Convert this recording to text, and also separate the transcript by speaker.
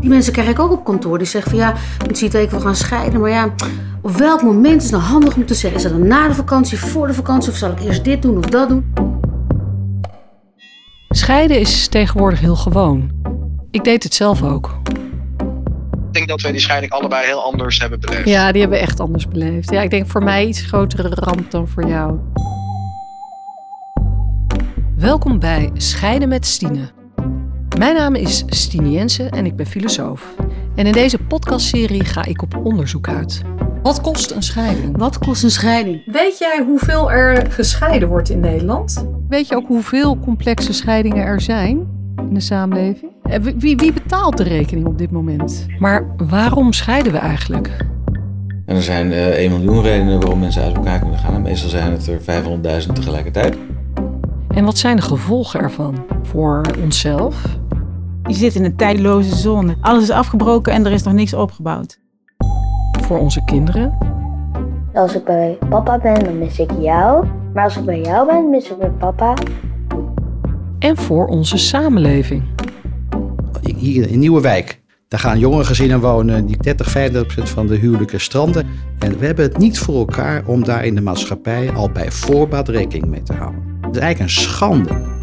Speaker 1: Die mensen krijg ik ook op kantoor. Die zeggen van ja, het ziet er even we gaan scheiden. Maar ja, op welk moment is het nou handig om te zeggen? Is dat dan na de vakantie, voor de vakantie? Of zal ik eerst dit doen of dat doen?
Speaker 2: Scheiden is tegenwoordig heel gewoon. Ik deed het zelf ook.
Speaker 3: Ik denk dat wij die scheiding allebei heel anders hebben beleefd.
Speaker 2: Ja, die hebben we echt anders beleefd. Ja, ik denk voor mij iets grotere ramp dan voor jou. Welkom bij Scheiden met Stine. Mijn naam is Stine Jensen en ik ben filosoof. En in deze podcastserie ga ik op onderzoek uit. Wat kost een scheiding?
Speaker 1: Wat kost een scheiding?
Speaker 4: Weet jij hoeveel er gescheiden wordt in Nederland?
Speaker 2: Weet je ook hoeveel complexe scheidingen er zijn in de samenleving? Eh, wie- Wie, wie betaalt de rekening op dit moment? Maar waarom scheiden we eigenlijk?
Speaker 5: En er zijn eh 1 miljoen redenen waarom mensen uit elkaar kunnen gaan. En meestal zijn het er 500.000 tegelijkertijd.
Speaker 2: En wat zijn de gevolgen ervan voor onszelf?
Speaker 6: Je zit in een tijdloze zone. Alles is afgebroken en er is nog niks opgebouwd.
Speaker 2: Voor onze kinderen?
Speaker 7: Als ik bij papa ben, dan mis ik jou. Maar als ik bij jou ben, mis ik mijn papa.
Speaker 2: En voor onze samenleving?
Speaker 8: Hier in Nieuwewijk, daar gaan jonge gezinnen wonen die 30, 35 procent van de huwelijken stranden. En we hebben het niet voor elkaar om daar in de maatschappij al bij voorbaat rekening mee te houden. Het is eigenlijk een schande.